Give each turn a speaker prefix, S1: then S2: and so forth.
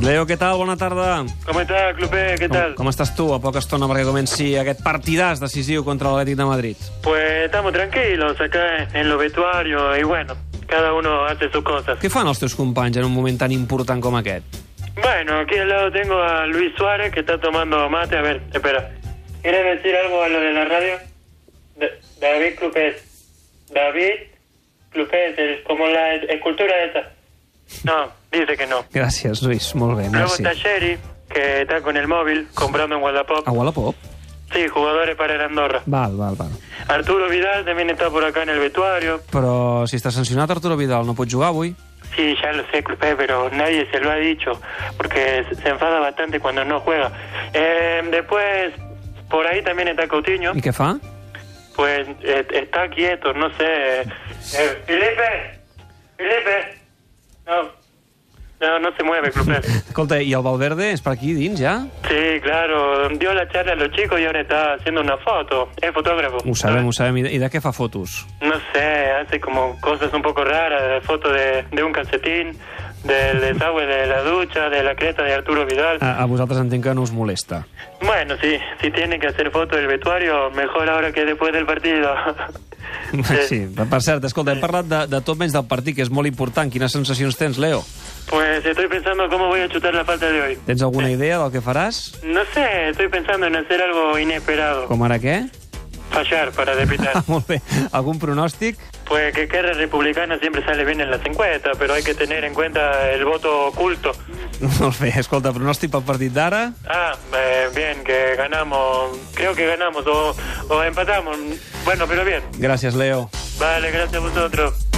S1: Leo, què tal? Bona tarda.
S2: Com està, Clopé? Què
S1: Com,
S2: tal?
S1: com estàs tu? A poca estona perquè comenci aquest partidàs decisiu contra l'Atlètic de Madrid.
S2: Pues estamos tranquilos acá en los vestuarios y bueno, cada uno hace sus cosas.
S1: Què fan els teus companys en un moment tan important com aquest?
S2: Bueno, aquí al lado tengo a Luis Suárez que está tomando mate. A ver, espera. ¿Quieres decir algo a lo de la radio? Da- David Clupés. David Clupés, el- como la e-, escultura esa. No, dice que
S1: Ah,
S2: no.
S1: Gràcies, Lluís. Molt bé,
S2: Luego
S1: merci.
S2: está Sherry, que está con el móvil comprando en Wallapop.
S1: A Wallapop?
S2: Sí, jugadores para el Andorra.
S1: Val, val, val.
S2: Arturo Vidal también está por acá en el vestuario.
S1: Però si està sancionat Arturo Vidal, no pot jugar avui?
S2: Sí, ya lo sé, Clupé, pero nadie se lo ha dicho, porque se enfada bastante cuando no juega. Eh, después, por ahí también está Coutinho,
S1: I què fa?
S2: pues eh, está quieto, no sé. Eh, Felipe, Felipe, no, no, no se mueve, Clupé.
S1: Escolta, i el Valverde és per aquí dins, ja?
S2: Sí, claro, dio la charla a los chicos y ahora está haciendo una foto, es fotógrafo.
S1: Ho sabem, ho sabem. I de, i de què fa fotos?
S2: No sé, hace como cosas un poco raras, fotos de, de un calcetín, del desagüe de la ducha, de la creta de Arturo Vidal.
S1: A, a vosaltres entenc que no us molesta.
S2: Bueno, sí, si tiene que hacer foto del vestuario, mejor ahora que después del partido. Eh,
S1: Sí, per, per cert, escolta, hem parlat de, de tot menys del partit, que és molt important. Quines sensacions tens, Leo?
S2: Pues estoy pensando cómo voy a chutar la falta de hoy.
S1: Tens alguna idea del que faràs?
S2: No sé, estoy pensando en hacer algo inesperado.
S1: Com ara què?
S2: Fallar para
S1: Ah,
S2: depitar.
S1: molt bé. Algun pronòstic?
S2: Pues que guerra republicana siempre sale bien en las encuestas, pero hay que tener en cuenta el voto oculto.
S1: Molt bé. Escolta, pronòstic pel partit d'ara?
S2: Ah, eh, bien, que ganamos. Creo que ganamos o, o empatamos. Bueno, pero bien.
S1: Gràcies, Leo.
S2: Vale, gracias a vosotros.